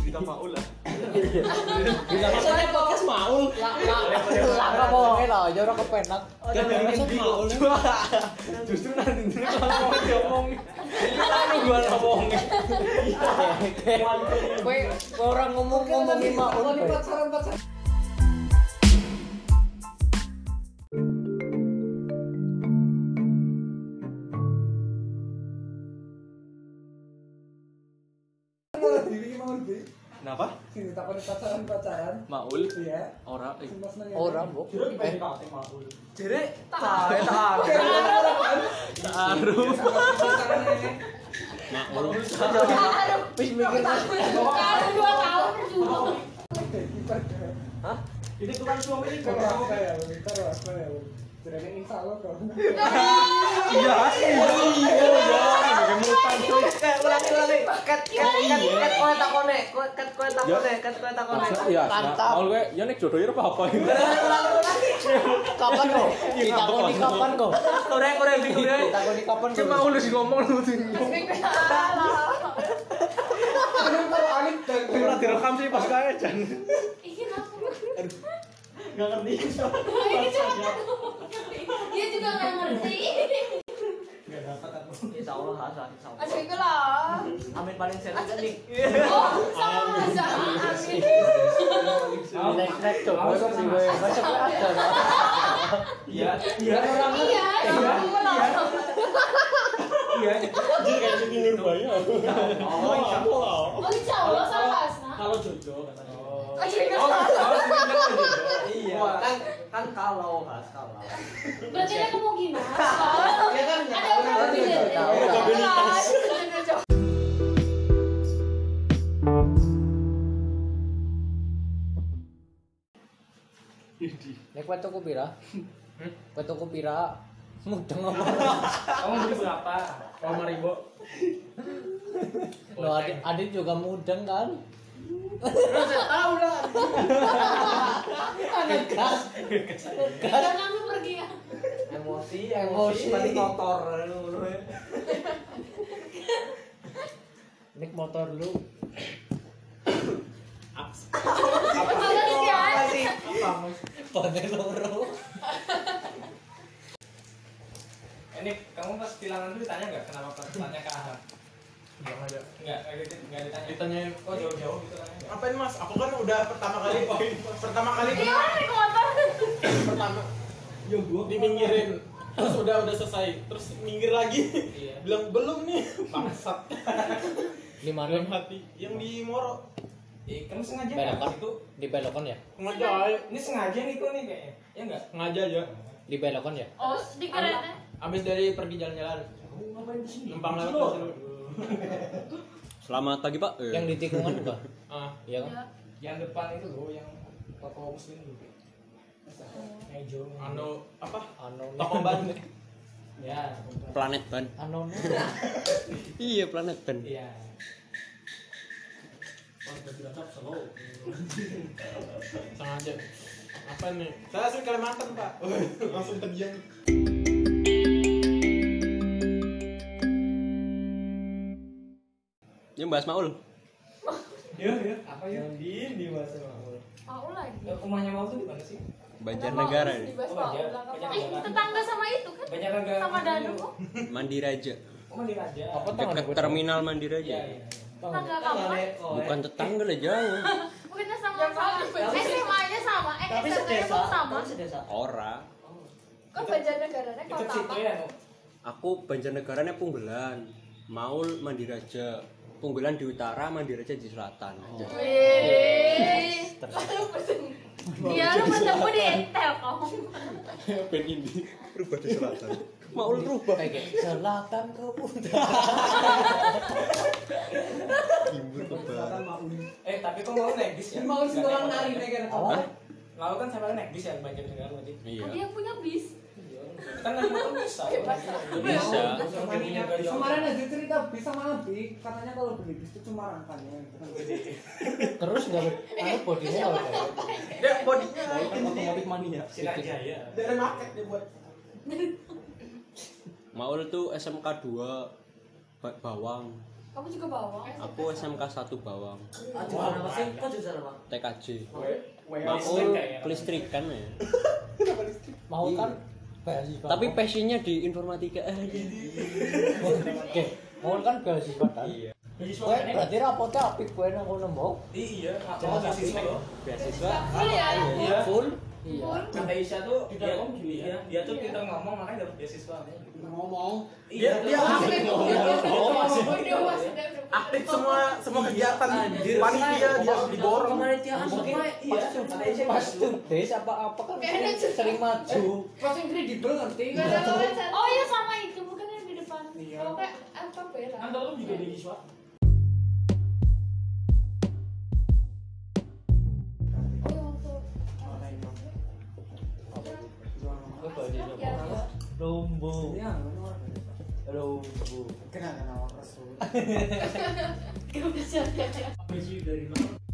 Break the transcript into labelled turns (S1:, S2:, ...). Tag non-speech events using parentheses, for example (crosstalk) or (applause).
S1: cerita
S2: Iya.
S1: Paul lah
S3: Soalnya podcast Maul.
S2: Lah enggak bohongin lah, aja orang kepenak.
S3: Kan dari masa Maul.
S1: justru nanti dulu kalau mau diomongin itu lalu gua ngomongin
S2: Gue orang ngomong ngomongin maul.
S4: Kalau di pacaran pacaran. Kalau diri mau diri.
S1: kenapa
S4: Sini tak pernah pacaran pacaran.
S1: Maul
S4: Iya.
S1: orang eh
S4: Cuma seneng ya.
S2: Orang, Bu. Eh,
S4: Jadi tak tak.
S2: Iya,
S1: taruh Maul
S2: wis mikir Mas.
S5: Kalau dua tahun juga.
S2: Hah?
S1: ini tukang suami ini
S4: Kalau apa ya? Kalau apa ya? Jadi insya Allah kalau.
S1: iya sih iya iya kemutan cuy
S2: Eh, ulangi ulangi. Kat kat kat kat koe tak kone, Koe- kat koe tak
S1: Iya. Ya.
S2: kone, kat koe tak kone.
S1: ya
S2: Mantap.
S1: Maul gue ya nek jodohnya apa apa ini
S2: Ulangi, ulangi, ulangi. Kapan kok?
S1: Iya,
S2: Kita koni kapan kok?
S3: Korea Korea bingung deh.
S2: Kita koni kapan kok?
S3: Cuma udah sih ngomong lu tuh.
S4: Kalau Alif dan
S1: udah direkam sih pas kaya jan
S5: Iya kenapa?
S1: nggak ngerti
S5: Ini juga Dia juga nggak ngerti.
S3: Insya Allah hasan. Insya Allah.
S5: Masuk itu loh.
S3: Amin paling serius nih.
S5: Oh, sama aja. Amin.
S2: Nek nek coba kok sih gue. Masuk gue ada. Mas.
S1: iya
S4: dan orang
S5: Iya, sama gue loh.
S1: oh iya
S5: Oh, insya Allah sama Hasna.
S1: kalau jodoh
S5: Oh, jadi nggak salah.
S1: iya
S3: Wah, kan kan kalau has kalau.
S5: Berarti ada kemungkinan.
S3: Iya kan?
S5: Ada probabilitas.
S2: Ada probabilitas.
S5: Jelas.
S2: Nek koe tuku pira? Koe tuku pira? Mudeng apa?
S1: kalau maribo
S2: Lo Adit, Adit juga mudeng kan? Tahu lah. Ngegas,
S5: Jangan lu pergi ya.
S3: Emosi,
S2: Emosi.
S3: emosi, paling kotor.
S1: ya.
S2: Nik motor lu.
S5: Jangan siap.
S2: Pakai loro.
S6: Ini kamu pas kehilangan itu ditanya nggak kenapa pas tanya ke arah? Nggak ada. Nggak, nggak ditanya. Ditanyain kok jauh-jauh gitu kan? Oh,
S1: ngapain mas aku kan udah pertama kali pertama kali
S5: Iya, orang di kotor.
S1: pertama dipinggirin (laughs) terus udah udah selesai terus minggir lagi
S6: Iya.
S1: (laughs) bilang belum nih bangsat
S2: Di mana?
S1: dalam hati yang di Moro
S6: Eh, kamu sengaja nggak
S2: Belokan.
S6: pas itu?
S2: Di belokan ya?
S1: ngaja aja
S6: Ini sengaja nih kok nih kayaknya. Ya nggak?
S1: ngaja eh. aja
S2: Di belokan ya?
S5: Oh, di kereta.
S1: abis dari pergi jalan-jalan
S6: Kamu ngapain di sini?
S1: numpang lewat terus dulu.
S7: Selamat pagi Pak. Eh,
S2: Yang di tikungan juga?
S1: ah
S2: Iya kan?
S5: Ya.
S6: Yang depan itu loh, yang toko muslim dulu.
S5: Oh.
S6: Yang hijau. yang hijau.
S1: anu apa
S2: Anon.
S1: toko ban (laughs)
S6: Ya. toko ban.
S7: planet ban.
S2: Anon.
S7: Iya planet ban.
S6: Iya.
S1: sengaja apa nih saya asli Kalimantan pak (laughs) langsung terdiam
S7: Ini bahas Maul.
S6: Iya, iya. Apa ya?
S1: di di bahasa Maul
S5: Mau lagi.
S6: Ya, Rumahnya mau tuh di mana sih?
S7: Banjar negara
S5: Di
S7: nih.
S5: Bas
S6: Oh,
S5: Paul,
S6: iya.
S5: bilang apa?
S6: Banyak
S5: Eh,
S6: banget.
S5: tetangga sama itu kan?
S6: Banyak agak.
S5: Sama Danu. Oh,
S7: Mandiraja.
S6: Oh, di Raja.
S2: Apa tangan
S7: Dekat
S2: gue?
S7: terminal
S6: Iya,
S7: Mandiraja.
S6: iya.
S5: tetangga kamu
S3: Tangan Eko,
S5: kan?
S3: ya.
S7: Bukan tetangga lah jauh.
S5: Bukannya sama sama. SMA-nya sama, eh
S3: Tapi
S5: SMA-nya
S3: sedesa.
S5: pun sama.
S3: Tapi sedesa.
S7: Ora.
S5: Kan Banjarnegaranya
S6: Itu
S5: kota
S6: situ
S5: apa?
S6: ya, Nuk?
S7: Aku Banjarnegaranya Punggelan. Maul Mandiraja. Punggelan di utara, Mandiraja di selatan.
S5: Oh. (laughs) Wih. Lalu pesen. Iya, lu bertemu di Telkom.
S7: Ben ini rubah di selatan. Maul rubah.
S2: Kayak gitu. selatan ke utara.
S7: Timbul ke barat.
S6: Eh, tapi kok mau negis ya?
S4: mau sih orang nari nih kan?
S2: Apa?
S6: lalu kan sampai naik bis ya banyak negara berarti
S5: Ada
S7: Iya.
S5: yang punya bis.
S6: kan naik motor bisa
S5: Bebas.
S7: Bisa.
S4: Kemarin aja cerita bisa sama Abi, katanya kalau beli bis itu cuma rangkanya, bukan beli.
S2: Terus nggak anu bodinya nggak bergerak.
S6: dia bodinya
S1: otomatis mania
S6: silat jaya
S1: dari market dia buat
S7: Maul tuh SMK 2 Ba- Bawang.
S5: Kamu juga bawa.
S7: Aku SMK 1 Bawang.
S3: Ah, jurusan apa sih? Kok jurusan apa?
S7: TKJ.
S6: Oh, Listrik
S7: Maul
S6: kayaknya.
S7: kelistrikan ya.
S2: Mau
S7: Iya.
S2: kan? Beasiswa.
S7: Tapi passionnya di informatika. Eh, iya.
S2: oke. Mau kan beasiswa kan?
S6: Beasiswa
S2: Kowe
S6: kan, ya?
S2: berarti rapotnya apik kowe nang kono mau.
S6: iya aku
S2: Jangan
S6: beasiswa
S2: sampai.
S6: loh
S7: Beasiswa
S5: Full ya.
S6: iya
S7: full.
S2: Iya.
S5: Full.
S6: Kata Isya tuh
S1: Di
S6: dia
S1: Telkom gini ya?
S6: iya, dia tuh pinter ngomong makanya dapat beasiswa.
S1: ngomong
S6: Iya,
S1: dia
S5: Masuk
S1: aktif
S5: ke
S1: loh.
S5: video.
S6: Oh, masuk.
S5: Video masuk ke video.
S1: aktif semua semua kegiatan panitia dia diborong
S3: Kepanitiaan
S6: Mungkin
S3: semua iya.
S6: iya, kata Isya
S2: Mas
S6: gitu.
S2: Tundes apa apa kan
S5: Kayaknya
S2: sering- sering maju.
S4: Pas yang kredibel ngerti.
S5: Gak ada wawancara. Oh iya sama itu bukan yang di depan. Kalau kayak apa beda?
S6: Kan Telkom juga beasiswa.
S5: Oh, yang waktu-
S2: Apa beasiswa?
S5: Ya, ya.
S2: Lumbu,
S4: Iya, ini orang beda.
S2: lumbu.
S5: kan
S4: Kenapa kenapa terus?
S5: Gak bisa.
S6: Beasiswa dari mana?